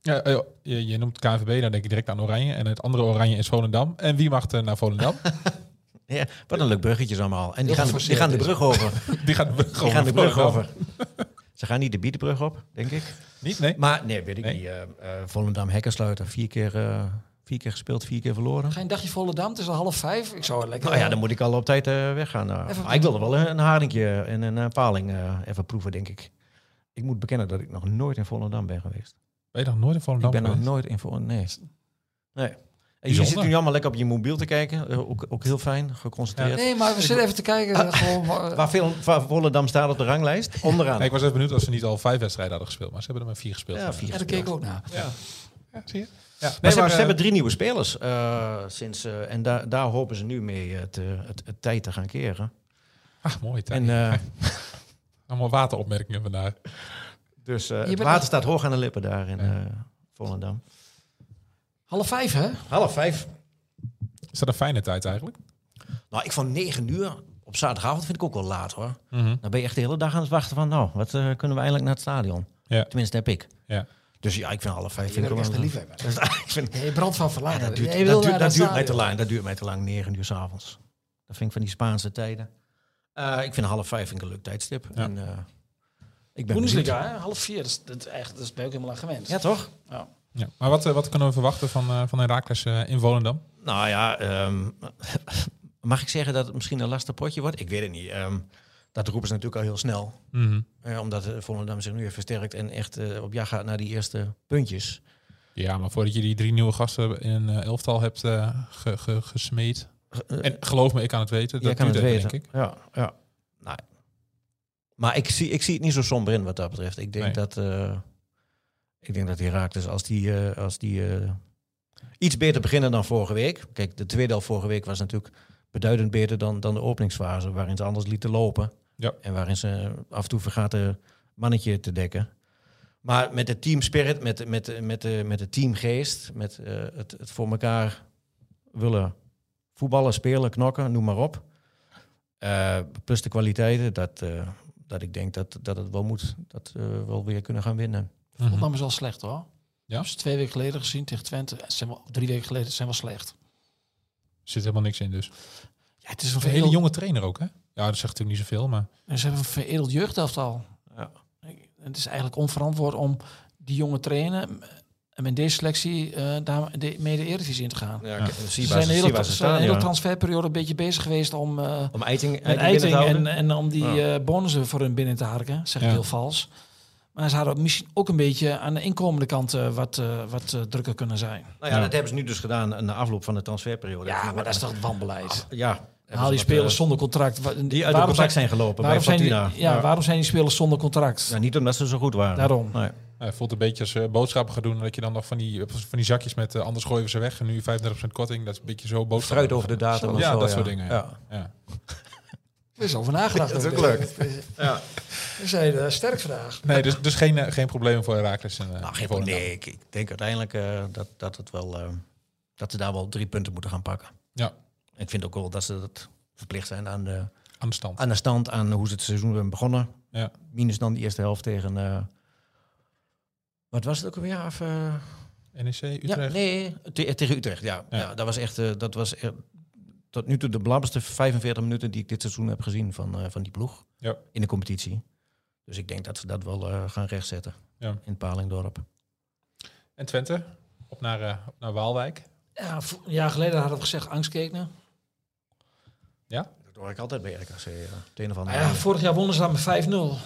Speaker 3: ja, eh, je, je noemt KNVB, dan denk ik direct aan Oranje. En het andere Oranje is Volendam. En wie mag er naar Volendam?
Speaker 4: Ja, wat een leuk bruggetje allemaal. En die
Speaker 5: Heel
Speaker 4: gaan, de- die
Speaker 5: geforceerd
Speaker 4: gaan de
Speaker 5: is
Speaker 4: brug over.
Speaker 3: Die gaat de brug over.
Speaker 4: Die gaan de brug
Speaker 3: Volendam.
Speaker 4: over. Ze gaan niet de biedenbrug op, denk ik.
Speaker 3: Niet? Nee?
Speaker 4: Maar nee, weet ik
Speaker 3: Nee.
Speaker 4: niet. Eh, eh, Volendam hekkensluiter. Vier keer, eh, vier keer gespeeld, vier keer verloren.
Speaker 5: Ga je een dagje Volendam? Het is al half vijf. Ik zou het lekker...
Speaker 4: Nou ja, dan moet ik al op tijd eh, weggaan. eh.
Speaker 5: Even-
Speaker 4: Maar ik wilde wel een, een haringje en een eh, paling eh, even proeven, denk ik. Ik moet bekennen dat ik nog nooit in Volendam ben geweest.
Speaker 3: Ben je nog nooit in Volendam
Speaker 4: ik ben nog
Speaker 3: geweest?
Speaker 4: nooit in Volendam. Nee. nee. En je
Speaker 3: Bijzonder.
Speaker 4: zit nu allemaal lekker op je mobiel te kijken. eh, ook, ook heel fijn, geconcentreerd.
Speaker 5: Nee, maar we zitten even te kijken. Gewoon, eh,
Speaker 4: Ah, Waar, veel, waar Volendam staat op de ranglijst? Onderaan.
Speaker 3: Nee, ik was even benieuwd of ze niet al vijf wedstrijden hadden gespeeld. Maar ze hebben er maar vier gespeeld.
Speaker 4: Ja, vier
Speaker 5: Ja, daar
Speaker 4: gespeeld.
Speaker 5: keek ik ook naar.
Speaker 3: Ja, zie je? Ja.
Speaker 4: Maar ze,
Speaker 3: Nee,
Speaker 4: hebben,
Speaker 3: maar,
Speaker 4: ze
Speaker 3: eh,
Speaker 4: hebben drie nieuwe spelers eh, sinds. eh, en daar daar hopen ze nu mee eh, te- het, het tijd te gaan keren.
Speaker 3: Ach, mooi. Tijn.
Speaker 4: En, eh,
Speaker 3: ah, Allemaal wateropmerkingen vandaag.
Speaker 4: dus eh,
Speaker 5: Je
Speaker 4: het
Speaker 5: bent
Speaker 4: water
Speaker 5: nog-
Speaker 4: staat hoog aan de lippen daar in eh, Volendam.
Speaker 5: Half vijf, hè?
Speaker 4: Half vijf.
Speaker 3: Is dat een fijne tijd eigenlijk?
Speaker 4: Nou, ik vond negen uur op zaterdagavond vind ik ook wel laat hoor.
Speaker 3: Mhm.
Speaker 4: Dan ben je echt de hele dag aan het wachten van, nou, wat eh, kunnen we eindelijk naar het stadion?
Speaker 3: Ja.
Speaker 4: Tenminste, heb ik.
Speaker 3: Ja.
Speaker 4: Dus ja, ik vind half vijf.
Speaker 5: Je
Speaker 4: vind ik
Speaker 5: bent echt een
Speaker 4: wel-
Speaker 5: liefhebber.
Speaker 4: ik vind,
Speaker 5: Je brand van verlaten.
Speaker 4: dat
Speaker 5: Jij
Speaker 4: duurt,
Speaker 5: wil
Speaker 4: dat duurt,
Speaker 5: naar
Speaker 4: dat
Speaker 5: het
Speaker 4: duurt mij te
Speaker 5: stadion.
Speaker 4: lang. Dat duurt mij te lang, negen uur s'avonds. Dat vind ik van die Spaanse tijden. Eh, ik vind half vijf vind ik een leuk tijdstip.
Speaker 3: Ja.
Speaker 4: En, eh, ik ben benieuwd.
Speaker 5: Bundesliga, hè? Half vier. Dat is, dat is echt, dat is ben ik ook helemaal aan gewend.
Speaker 4: Ja, toch?
Speaker 3: Ja. Maar wat, eh, wat kunnen we verwachten van, eh van Herakles eh, in Volendam?
Speaker 4: Nou ja, ehm, mag ik zeggen dat het misschien een lastig potje wordt? Ik weet het niet. Ehm, dat roepen ze natuurlijk al heel snel.
Speaker 3: Mhm.
Speaker 4: Eh, omdat eh, Volendam zich nu heeft versterkt en echt eh, op jacht gaat naar die eerste puntjes.
Speaker 3: Ja, maar voordat je die drie nieuwe gasten in een eh, elftal hebt eh, ge- ge- gesmeed.
Speaker 4: Eh,
Speaker 3: En geloof me, ik kan het weten.
Speaker 4: Jij
Speaker 3: Dat
Speaker 4: kan
Speaker 3: duurt
Speaker 4: het
Speaker 3: even,
Speaker 4: weten.
Speaker 3: denk ik.
Speaker 4: Ja, ja. Nou, maar ik zie, ik zie het niet zo somber in wat dat betreft. Ik denk
Speaker 3: Nee.
Speaker 4: dat eh ik denk dat Herakles als die, eh, als die eh, iets beter beginnen dan vorige week. Kijk, de tweede helft vorige week was natuurlijk beduidend beter dan, dan de openingsfase, waarin ze anders lieten lopen.
Speaker 3: Ja.
Speaker 4: En waarin ze af en toe vergaten mannetje te dekken. Maar met de team spirit, met, de- met, de- met, de, met de teamgeest, met eh, het, het voor elkaar willen voetballen, spelen, knokken, noem maar op. Eh, plus de kwaliteiten, dat, eh, dat ik denk dat, dat het wel moet. Dat eh, we wel weer kunnen gaan winnen.
Speaker 3: Mhm.
Speaker 5: Volendam is wel slecht, hoor.
Speaker 3: Ja?
Speaker 5: Dus twee weken geleden gezien tegen Twente. Ze zijn wel, drie weken geleden ze zijn wel slecht.
Speaker 3: Er zit helemaal niks in dus.
Speaker 5: Ja, het is een
Speaker 3: Een hele
Speaker 5: veredeld,
Speaker 3: jonge trainer ook, hè? Ja, dat zegt natuurlijk niet zoveel, maar...
Speaker 5: en Ze hebben een veredeld jeugdelftal.
Speaker 4: Ja.
Speaker 5: Ik- Het is eigenlijk onverantwoord om die jonge trainen... en met deze selectie eh daar de, mee de Eredivisie in te gaan.
Speaker 4: Ja,
Speaker 3: ik-
Speaker 4: Ze
Speaker 5: Ze
Speaker 4: zijn
Speaker 5: zijn de hele,
Speaker 4: heel
Speaker 5: ze zijn de hele transferperiode een beetje bezig geweest om... eh,
Speaker 4: Om Eiting,
Speaker 5: Met
Speaker 4: eiting, binnen
Speaker 5: eiting
Speaker 4: te
Speaker 5: en,
Speaker 4: houden.
Speaker 5: en om die
Speaker 4: Ja.
Speaker 5: eh, bonussen voor hun binnen te harken, zeg ik
Speaker 3: Ja.
Speaker 5: heel vals. Maar ze hadden misschien ook een beetje aan de inkomende kant eh, wat, eh, wat eh, drukker kunnen zijn.
Speaker 4: nou ja,
Speaker 3: Ja.
Speaker 4: dat hebben ze nu dus gedaan na afloop van de transferperiode.
Speaker 5: Ja, maar dat is toch het wanbeleid?
Speaker 4: Ja.
Speaker 5: Haal
Speaker 4: hebben ze
Speaker 5: die
Speaker 4: wat,
Speaker 5: spelers
Speaker 4: eh,
Speaker 5: zonder contract. Wa-
Speaker 4: die uit het
Speaker 5: waarom
Speaker 4: contract
Speaker 5: zijn,
Speaker 4: zijn gelopen bij
Speaker 5: waarom, zijn die,
Speaker 4: Fortuna.
Speaker 5: ja, waarom zijn die spelers zonder contract?
Speaker 4: Ja, niet omdat ze zo goed waren.
Speaker 5: Daarom.
Speaker 4: Nee.
Speaker 3: Hij voelt een beetje als eh, boodschappen gaan doen. Dat je dan nog van die, van die zakjes met eh, anders gooien we ze weg. En nu 35% korting. Dat is een beetje zo boodschappen.
Speaker 4: Fruit over de datum. of
Speaker 3: Ja,
Speaker 4: zo,
Speaker 3: dat soort dingen. Ja.
Speaker 4: Ja.
Speaker 3: Ja.
Speaker 5: Er is over nagedacht.
Speaker 4: Dat is ook
Speaker 5: over
Speaker 4: leuk.
Speaker 5: dit.
Speaker 4: Ja.
Speaker 5: We zijn eh, sterk vandaag.
Speaker 3: Nee, dus, dus geen, eh, geen probleem voor Herakles. en eh,
Speaker 4: Nou, geen
Speaker 3: Volendam.
Speaker 4: nee, ik, ik denk uiteindelijk eh, dat, dat, het wel, eh, dat ze daar wel drie punten moeten gaan pakken.
Speaker 3: Ja,
Speaker 4: Ik vind ook wel dat ze dat verplicht zijn aan de,
Speaker 3: aan de stand.
Speaker 4: aan de stand, aan hoe ze het seizoen hebben begonnen.
Speaker 3: Ja.
Speaker 4: Minus dan die eerste helft tegen... eh, wat was het ook alweer? Of, eh,
Speaker 3: NEC, E Utrecht.
Speaker 4: Ja, nee, te- tegen Utrecht, ja.
Speaker 3: Ja.
Speaker 4: ja. dat was echt, eh, dat was, eh, tot nu toe de belangrijkste 45 minuten die ik dit seizoen heb gezien van, eh, van die ploeg
Speaker 3: Ja.
Speaker 4: in de competitie. Dus ik denk dat ze dat wel eh, gaan rechtzetten
Speaker 3: Ja.
Speaker 4: in het Palingdorp.
Speaker 3: En Twente? Op naar, eh, op naar Waalwijk.
Speaker 5: Ja, vo- een jaar geleden hadden we gezegd angstkekenen.
Speaker 4: Dat hoor ik altijd bij RKC, ja. het een of
Speaker 5: Maar
Speaker 3: Ah,
Speaker 4: andere.
Speaker 5: ja, vorig jaar wonnen ze dan met 5-0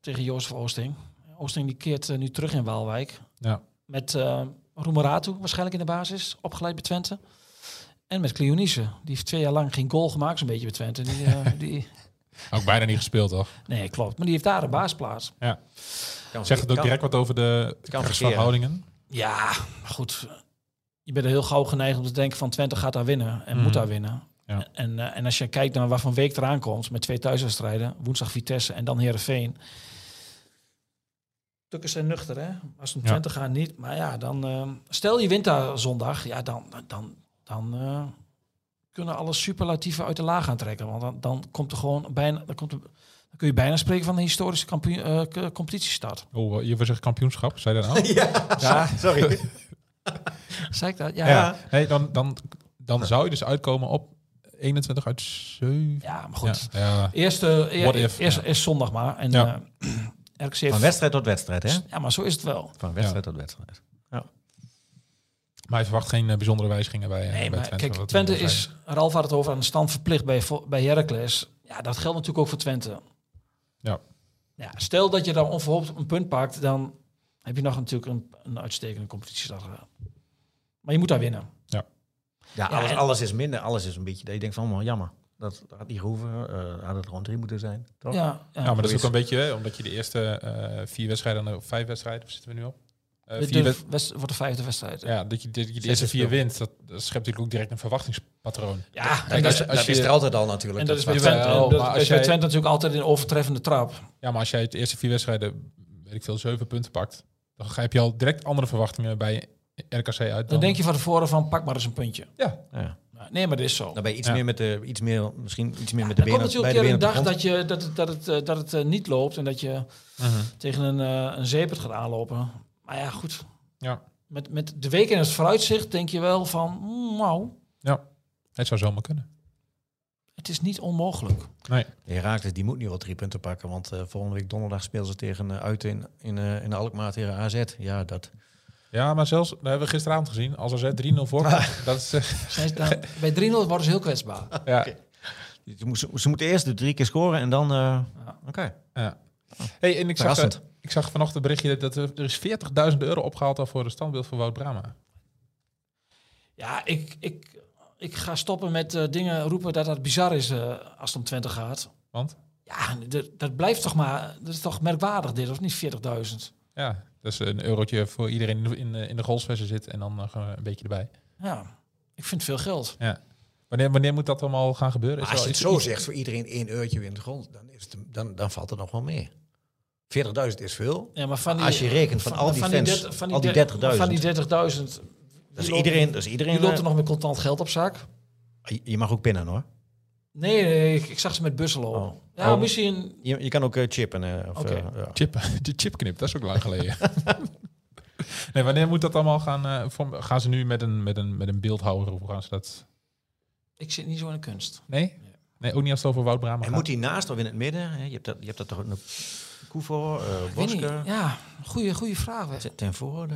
Speaker 5: tegen Joost van Oosting. Oosting die keert eh, nu terug in Waalwijk.
Speaker 3: Ja.
Speaker 5: Met eh Roemeratu waarschijnlijk in de basis, opgeleid bij Twente. En met Cleonice, die heeft twee jaar lang geen goal gemaakt zo'n beetje bij Twente. Die, eh, die,
Speaker 3: Ook bijna niet gespeeld, toch?
Speaker 5: nee, klopt. Maar die heeft daar een baasplaats.
Speaker 4: Kan-
Speaker 3: Zegt het ook
Speaker 4: kan-
Speaker 3: direct wat over de
Speaker 4: kan
Speaker 3: krachtsverhoudingen?
Speaker 5: Ja, maar goed. Je bent er heel gauw geneigd om te denken van Twente gaat daar winnen en
Speaker 3: Mhm.
Speaker 5: moet daar winnen.
Speaker 3: Ja.
Speaker 5: En, eh, en als je kijkt naar waarvan week eraan komt met twee thuiswedstrijden, woensdag Vitesse en dan Herenveen. Tukkers zijn nuchter, hè? Als het om
Speaker 3: Ja.
Speaker 5: Twente gaat niet. Maar ja, dan eh, stel je wint daar zondag, ja, dan, dan, dan eh, kunnen alle superlatieven uit de laag gaan trekken. Want dan, dan komt er gewoon bijna, dan, komt er, dan kun je bijna spreken van een historische kampioen, eh, k- competitiestart.
Speaker 3: Oh, je wil zeggen kampioenschap, zei je dat nou?
Speaker 4: Sorry.
Speaker 5: Zei ik dat? Ja.
Speaker 3: Ja. Nee, dan, dan, dan zou je dus uitkomen op 21 uit 7.
Speaker 5: ja maar goed.
Speaker 3: Ja, ja.
Speaker 5: Eerste, e-
Speaker 3: What if,
Speaker 5: eerst,
Speaker 3: ja.
Speaker 5: eerst zondag maar. En,
Speaker 3: Ja.
Speaker 5: ja. RKC heeft-
Speaker 4: Van wedstrijd tot wedstrijd, hè?
Speaker 5: Ja, maar zo is het wel.
Speaker 4: Van wedstrijd tot wedstrijd.
Speaker 3: Maar hij verwacht geen eh, bijzondere wijzigingen bij, eh,
Speaker 5: Nee,
Speaker 3: bij
Speaker 5: maar
Speaker 3: Twente.
Speaker 5: kijk,
Speaker 3: wat
Speaker 5: Twente
Speaker 3: we al
Speaker 5: is, Ralf had het over, aan de stand verplicht bij, Vo- bij Heracles. Ja, dat geldt natuurlijk ook voor Twente.
Speaker 3: Ja.
Speaker 5: ja. Stel dat je dan onverhoopt een punt pakt, dan heb je nog natuurlijk een, een uitstekende competitie. Maar je moet daar winnen.
Speaker 4: Ja,
Speaker 5: Ja,
Speaker 4: alles,
Speaker 5: en-
Speaker 4: alles is minder. Alles is een beetje... dat Je denkt van, man, jammer. Dat had niet gehoeven. eh, had het rond drie moeten zijn, toch?
Speaker 5: Ja, ja.
Speaker 3: Ja, maar dat is ook
Speaker 4: Zoiets.
Speaker 3: een beetje, hè, omdat je de eerste eh, vier wedstrijden, eh, of vijf wedstrijden, waar zitten we nu op? Eh,
Speaker 5: De-
Speaker 3: vier
Speaker 5: de
Speaker 3: wed-
Speaker 5: west- wordt de vijfde wedstrijd. Ja,
Speaker 3: ja, dat je, dat je de
Speaker 4: Zes
Speaker 3: eerste vier
Speaker 4: gespeeld.
Speaker 3: wint, dat, dat schept natuurlijk ook direct een verwachtingspatroon.
Speaker 5: en,
Speaker 3: als
Speaker 5: dat,
Speaker 3: je-
Speaker 4: dat is er altijd al natuurlijk.
Speaker 5: en dat is bij
Speaker 3: Jawel,
Speaker 5: Twente,
Speaker 3: maar
Speaker 5: en dat
Speaker 3: als
Speaker 5: is bij
Speaker 3: jij-
Speaker 5: Twente natuurlijk altijd een overtreffende trap.
Speaker 3: Ja, maar als jij de eerste vier wedstrijden, weet ik veel, zeven punten pakt, dan ga- heb je al direct andere verwachtingen bij RKC uit.
Speaker 5: Dan denk je van tevoren van, pak maar eens een puntje.
Speaker 3: Ja,
Speaker 4: Ja.
Speaker 5: Nou, Nee, maar dit is zo.
Speaker 4: Dan ben je iets
Speaker 3: Ja.
Speaker 4: meer met de... Iets meer, misschien iets meer met de
Speaker 5: Er
Speaker 4: benen...
Speaker 5: komt natuurlijk
Speaker 4: bij
Speaker 5: een keer
Speaker 4: de
Speaker 5: een dag
Speaker 4: benen op de
Speaker 5: dat, je, dat, het, dat, het, eh, dat het eh, niet loopt en dat je
Speaker 4: Mhm.
Speaker 5: tegen een, eh een zeepert gaat aanlopen. Maar ja, goed.
Speaker 3: Ja.
Speaker 5: Met, met de week in het vooruitzicht denk je wel van, mm, nou,
Speaker 3: het zou zomaar kunnen.
Speaker 5: het is niet onmogelijk.
Speaker 4: grond. Heracles, die moet nu wel drie punten pakken. Want eh, volgende week donderdag spelen ze tegen eh, uit in, in, eh, in Alkmaar tegen AZ. Ja, dat...
Speaker 3: Ja, maar zelfs, dat hebben we gisteravond gezien, als AZ 3-0 voor komt, dat is... eh,
Speaker 5: Zijn ze dan, bij 3-0 worden ze heel kwetsbaar.
Speaker 3: ja.
Speaker 4: Ze, moest- ze moeten eerst de drie keer scoren en dan... eh, Oké.
Speaker 3: Ja. Hey, en ik zag, eh,
Speaker 4: Verrassend.
Speaker 3: ik zag vanochtend berichtje dat er, er is 40.000 euro opgehaald al voor de standbeeld van Wout Brama.
Speaker 5: Ja, ik, ik, ik ga stoppen met eh, dingen roepen dat dat bizar is eh, als het om Twente gaat.
Speaker 3: Want?
Speaker 5: Ja, dat, dat blijft toch maar, dat is toch merkwaardig dit, of niet 40.000?
Speaker 3: Ja, dat is een eurotje voor iedereen die in, de- in de golfsversie zit en dan nog eh, een beetje erbij.
Speaker 5: Ja, ik vind veel geld.
Speaker 3: Wanneer, wanneer moet dat allemaal gaan gebeuren?
Speaker 4: Maar
Speaker 3: er
Speaker 4: als je
Speaker 3: al
Speaker 4: het
Speaker 3: iets-
Speaker 4: zo zegt, voor iedereen één eurtje in de grond, dan, is het, dan, dan valt er nog wel mee. 40.000 is veel.
Speaker 5: Ja, maar van die,
Speaker 4: Als je rekent van al die fans,
Speaker 5: dertig- van die
Speaker 4: al die
Speaker 5: der-
Speaker 4: 30.000.
Speaker 5: Van die 30.000.
Speaker 4: Dat is
Speaker 5: Die
Speaker 4: iedereen. Dat is iedereen
Speaker 5: Je loopt er
Speaker 4: eh,
Speaker 5: nog met contant geld op zak?
Speaker 4: je- Je mag ook pinnen hoor. Nee,
Speaker 5: Nee, nee, ik, ik zag ze met bussen lopen.
Speaker 4: Oh.
Speaker 5: Ja,
Speaker 4: Oh.
Speaker 5: misschien...
Speaker 4: Je, je kan ook eh, chippen. eh, of,
Speaker 5: Oké.
Speaker 4: eh, ja.
Speaker 3: Chip, de chipknip, dat is ook lang geleden. nee, wanneer moet dat allemaal gaan? eh, vorm- gaan ze nu met een, met een, met een beeldhouwer of hoe gaan ze dat?
Speaker 5: Ik zit niet zo in de kunst.
Speaker 3: Nee? Nee, ook niet als het over Wout Brama
Speaker 4: En
Speaker 3: gaat.
Speaker 4: moet die naast of in het midden? Hè? Je, hebt dat, je hebt dat toch een Koevo, eh
Speaker 5: Ik weet niet.
Speaker 4: Bosker,
Speaker 5: Ja, goede, goede vraag. hè.
Speaker 4: Ten- ten voorde.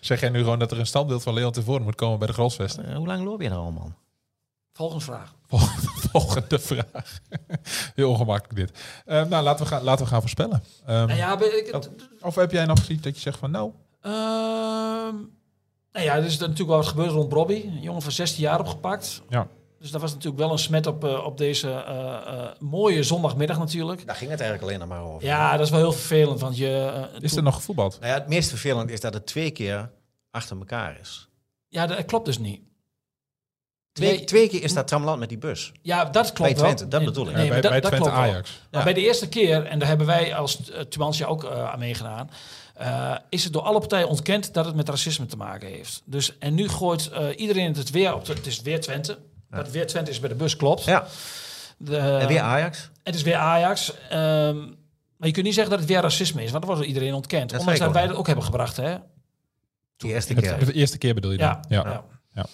Speaker 3: Zeg jij nu gewoon dat er een standbeeld van Leon tevoren moet komen bij de Grolsvest?
Speaker 4: Eh, hoe lang loop je nou al, man?
Speaker 5: Volgende vraag.
Speaker 3: Volgende vraag. Heel ongemakkelijk dit. Eh, nou, laten we gaan, laten we gaan voorspellen. Ehm,
Speaker 5: Nou ja, ben ik,
Speaker 3: Oh. Of heb jij nog iets dat je zegt van nou,
Speaker 5: Ehm, nou ja, er is natuurlijk wel wat gebeurd rond Robbie. Een jongen van 16 jaar opgepakt.
Speaker 3: Ja.
Speaker 5: Dus dat was natuurlijk wel een smet op, eh, op deze eh, eh, mooie zondagmiddag natuurlijk.
Speaker 4: Daar ging het eigenlijk alleen nog maar over.
Speaker 5: Ja, dat is wel heel vervelend, want je... eh,
Speaker 3: is er
Speaker 5: toen-
Speaker 3: nog gevoetbald?
Speaker 4: Nou ja, het meest vervelend is dat het twee keer achter elkaar is.
Speaker 5: Ja, dat klopt dus niet.
Speaker 4: Twee,
Speaker 5: Nee.
Speaker 4: twee keer is dat tramland met die bus.
Speaker 5: Ja, dat klopt
Speaker 4: Bij Twente,
Speaker 5: wel.
Speaker 4: dat bedoel ik.
Speaker 5: Nee,
Speaker 3: bij
Speaker 5: maar dat-
Speaker 3: bij
Speaker 5: dat
Speaker 3: Twente
Speaker 5: klopt wel.
Speaker 3: Ajax.
Speaker 5: Maar
Speaker 4: Ja.
Speaker 5: bij de eerste keer, en daar hebben wij als uh, ook eh, aan meegedaan, eh, is het door alle partijen ontkend dat het met racisme te maken heeft. Dus, en nu gooit eh, iedereen het het weer op. De, het is weer Twente. Dat weer Twente is bij de bus, klopt.
Speaker 4: Ja. Eh.
Speaker 5: De,
Speaker 4: En weer Ajax.
Speaker 5: het is weer Ajax. ehm, maar je kunt niet zeggen dat het weer racisme is, want dat wordt door iedereen ontkend.
Speaker 4: Dat
Speaker 5: Ondanks
Speaker 4: zei
Speaker 5: dat
Speaker 4: ik
Speaker 5: wij
Speaker 4: al.
Speaker 5: dat ook hebben gebracht, hè?
Speaker 4: De eerste
Speaker 3: Met-
Speaker 4: keer.
Speaker 3: met De eerste keer bedoel je dan?
Speaker 5: Ja.
Speaker 3: Ja.
Speaker 5: Ja.
Speaker 3: Ja.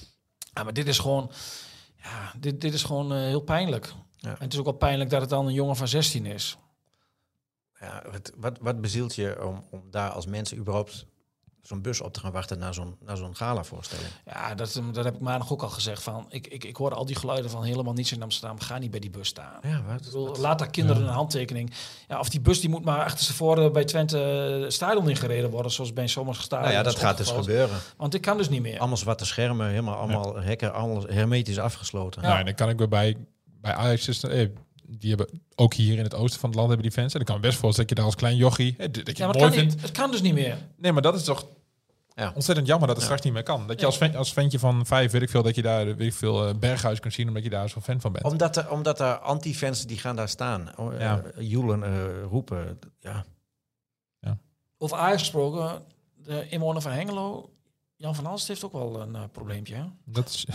Speaker 5: Ja, maar dit is gewoon, ja, dit, dit is gewoon eh, heel pijnlijk.
Speaker 4: Ja.
Speaker 5: En het is ook wel pijnlijk dat het dan een jongen van 16 is.
Speaker 4: Ja, wat, wat, wat bezielt je om, om daar als mensen überhaupt zo'n bus op te gaan wachten naar zo'n, naar zo'n gala-voorstelling?
Speaker 5: Ja, dat, ehm, dat heb ik maandag ook al gezegd. Van, ik, ik, ik hoor al die geluiden van helemaal niets in Amsterdam. Ga niet bij die bus staan.
Speaker 4: Ja,
Speaker 5: Ik
Speaker 4: wat?
Speaker 5: bedoel, laat daar kinderen een handtekening. Ja, of die bus die moet maar achter ze voren bij Twente eh, stadion ingereden worden. Zoals bij sommige stadions.
Speaker 4: Nou ja, dat
Speaker 5: is
Speaker 4: gaat dus
Speaker 5: opgevallen.
Speaker 4: gebeuren.
Speaker 5: Want dit kan dus niet meer.
Speaker 4: Allemaal zwarte schermen, helemaal allemaal hekken, alles hermetisch afgesloten.
Speaker 3: Nou, en dan kan ik weer bij, bij Ajax, is, eh, die hebben ook hier in het oosten van het land hebben die fans. En ik kan me best voorstellen dat je daar als klein jochie, eh, d- dat je
Speaker 5: Ja, maar het
Speaker 3: het mooi
Speaker 5: kan,
Speaker 3: vindt.
Speaker 5: niet, het kan dus niet meer.
Speaker 3: Nee, maar dat is toch
Speaker 4: Ja.
Speaker 3: ontzettend jammer dat het straks niet meer kan. Dat je als, ven- als ventje van vijf, weet ik veel, dat je daar weet ik veel eh, berghuis kunt zien, omdat je daar zo'n fan van bent.
Speaker 4: Omdat er, omdat er anti-fans die gaan daar staan, oh, eh,
Speaker 3: Ja.
Speaker 4: joelen, eh, roepen. Ja.
Speaker 5: Over Ajax gesproken, de inwoner van Hengelo, Jan van Alst, heeft ook wel een eh, probleempje. hè?
Speaker 3: Dat is...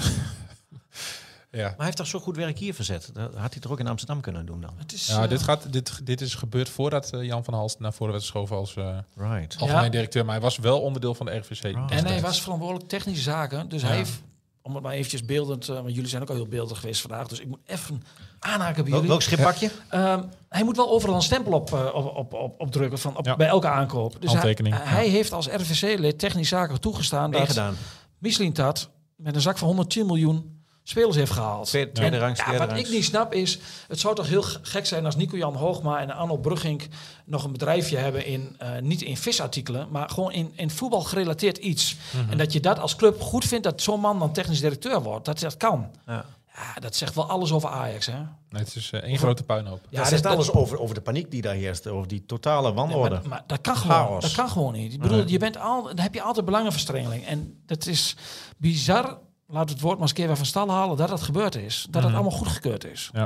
Speaker 3: ja.
Speaker 4: Maar hij heeft toch zo goed werk hier verzet? Dat had hij toch ook in Amsterdam kunnen doen dan?
Speaker 5: Het is,
Speaker 3: Ja,
Speaker 5: eh,
Speaker 3: dit, gaat, dit, dit is gebeurd voordat eh, Jan van Halst naar voren werd geschoven als eh,
Speaker 4: Right.
Speaker 3: algemeen
Speaker 5: Ja. Ah.
Speaker 3: directeur. Maar hij was wel onderdeel van de RVC.
Speaker 5: En
Speaker 3: destijds.
Speaker 5: hij was verantwoordelijk technische zaken. Dus hij heeft, om het maar eventjes beeldend... eh, want jullie zijn ook al heel beeldig geweest vandaag. Dus ik moet even aanhaken bij
Speaker 4: Wel-
Speaker 5: jullie.
Speaker 4: Welk schippakje?
Speaker 5: Ehm, hij moet wel overal een stempel op, eh, op, op, op, op drukken van, op-
Speaker 3: Ja.
Speaker 5: bij elke aankoop. Dus hij,
Speaker 3: Handtekening, ja.
Speaker 5: hij heeft als RVC-lid technisch zaken toegestaan dat
Speaker 4: Meegedaan.
Speaker 5: Mislintat met een zak van 110 miljoen spelers heeft gehaald.
Speaker 4: Tweede, tweede
Speaker 5: En,
Speaker 4: rangs,
Speaker 5: ja,
Speaker 4: derde
Speaker 5: wat
Speaker 4: rangs.
Speaker 5: ik niet snap is, het zou toch heel g- gek zijn als Nico-Jan Hoogma en Arno Brugging nog een bedrijfje hebben in, eh, niet in visartikelen, maar gewoon in, in voetbal gerelateerd iets.
Speaker 3: Mhm.
Speaker 5: En dat je dat als club goed vindt dat zo'n man dan technisch directeur wordt, dat dat kan.
Speaker 4: Ja.
Speaker 5: Ja, dat zegt wel alles over Ajax, hè?
Speaker 3: Nee, het is eh, één grote puinhoop.
Speaker 4: Ja, dat
Speaker 5: dat-
Speaker 4: zegt alles over, over de paniek die daar heerst, over die totale
Speaker 5: Nee,
Speaker 4: wanorde.
Speaker 5: maar, maar dat kan gewoon,
Speaker 4: Chaos.
Speaker 5: dat kan gewoon niet. Ik bedoel, je bent al, dan heb je altijd belangenverstrengeling. En dat is bizar, laten we het woord maar eens een keer weer van stal halen, dat dat gebeurd is. Dat dat allemaal goedgekeurd is.
Speaker 3: Ja.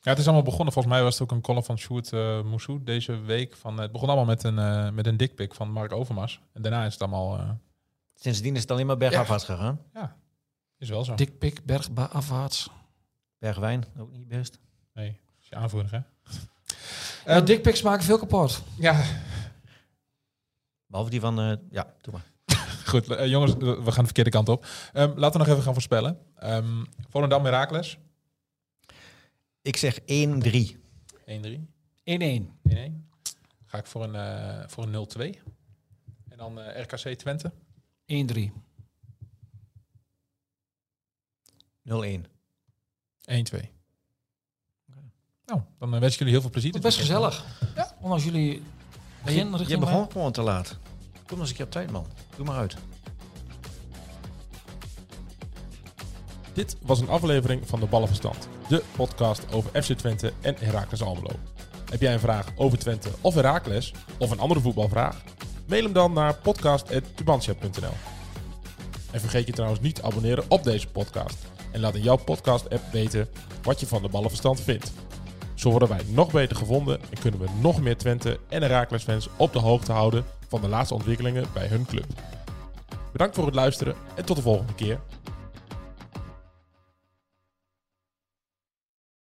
Speaker 3: ja, het is allemaal begonnen. Volgens mij was het ook een column van Sjoerd eh Moussou deze week. Van, eh, het begon allemaal met een, eh met een dikpik van Mark Overmars. En daarna is het allemaal... eh,
Speaker 4: Sindsdien is het alleen maar bergafwaarts gegaan.
Speaker 3: ja, is wel zo.
Speaker 5: Dik pik, berg ba- afwaarts.
Speaker 4: Bergwijn, ook niet best.
Speaker 3: Nee, is je aanvoerder, hè?
Speaker 5: Ja, Dikpiks Eh, maken veel kapot.
Speaker 3: Ja,
Speaker 4: Behalve die van, eh, ja, doe maar.
Speaker 3: Goed, eh, jongens, we gaan de verkeerde kant op. Ehm, laten we nog even gaan voorspellen. Ehm Volendam Herakles.
Speaker 4: Ik zeg 1-3.
Speaker 3: 1-3.
Speaker 5: 1-1.
Speaker 3: 1-1. Ga ik voor een, eh, voor een 0-2. En dan eh, RKC Twente.
Speaker 5: 1-3.
Speaker 4: 0-1.
Speaker 3: 1-2. Nou, dan eh, wens ik jullie heel veel plezier.
Speaker 5: Het is best gezellig. Ja. Ondanks jullie begin richting
Speaker 4: Je
Speaker 5: mij.
Speaker 4: begon gewoon te laat. Kom eens een keer op tijd, man. Doe maar uit.
Speaker 3: Dit was een aflevering van de Ballenverstand. De podcast over FC Twente en Heracles Almelo. Heb jij een vraag over Twente of Heracles? Of een andere voetbalvraag? Mail hem dan naar podcast.tubantia.nl En vergeet je trouwens niet te abonneren op deze podcast. En laat in jouw podcast-app weten wat je van de Ballenverstand vindt. Zo worden wij nog beter gevonden en kunnen we nog meer Twente en Heracles fans op de hoogte houden van de laatste ontwikkelingen bij hun club. Bedankt voor het luisteren en tot de volgende keer.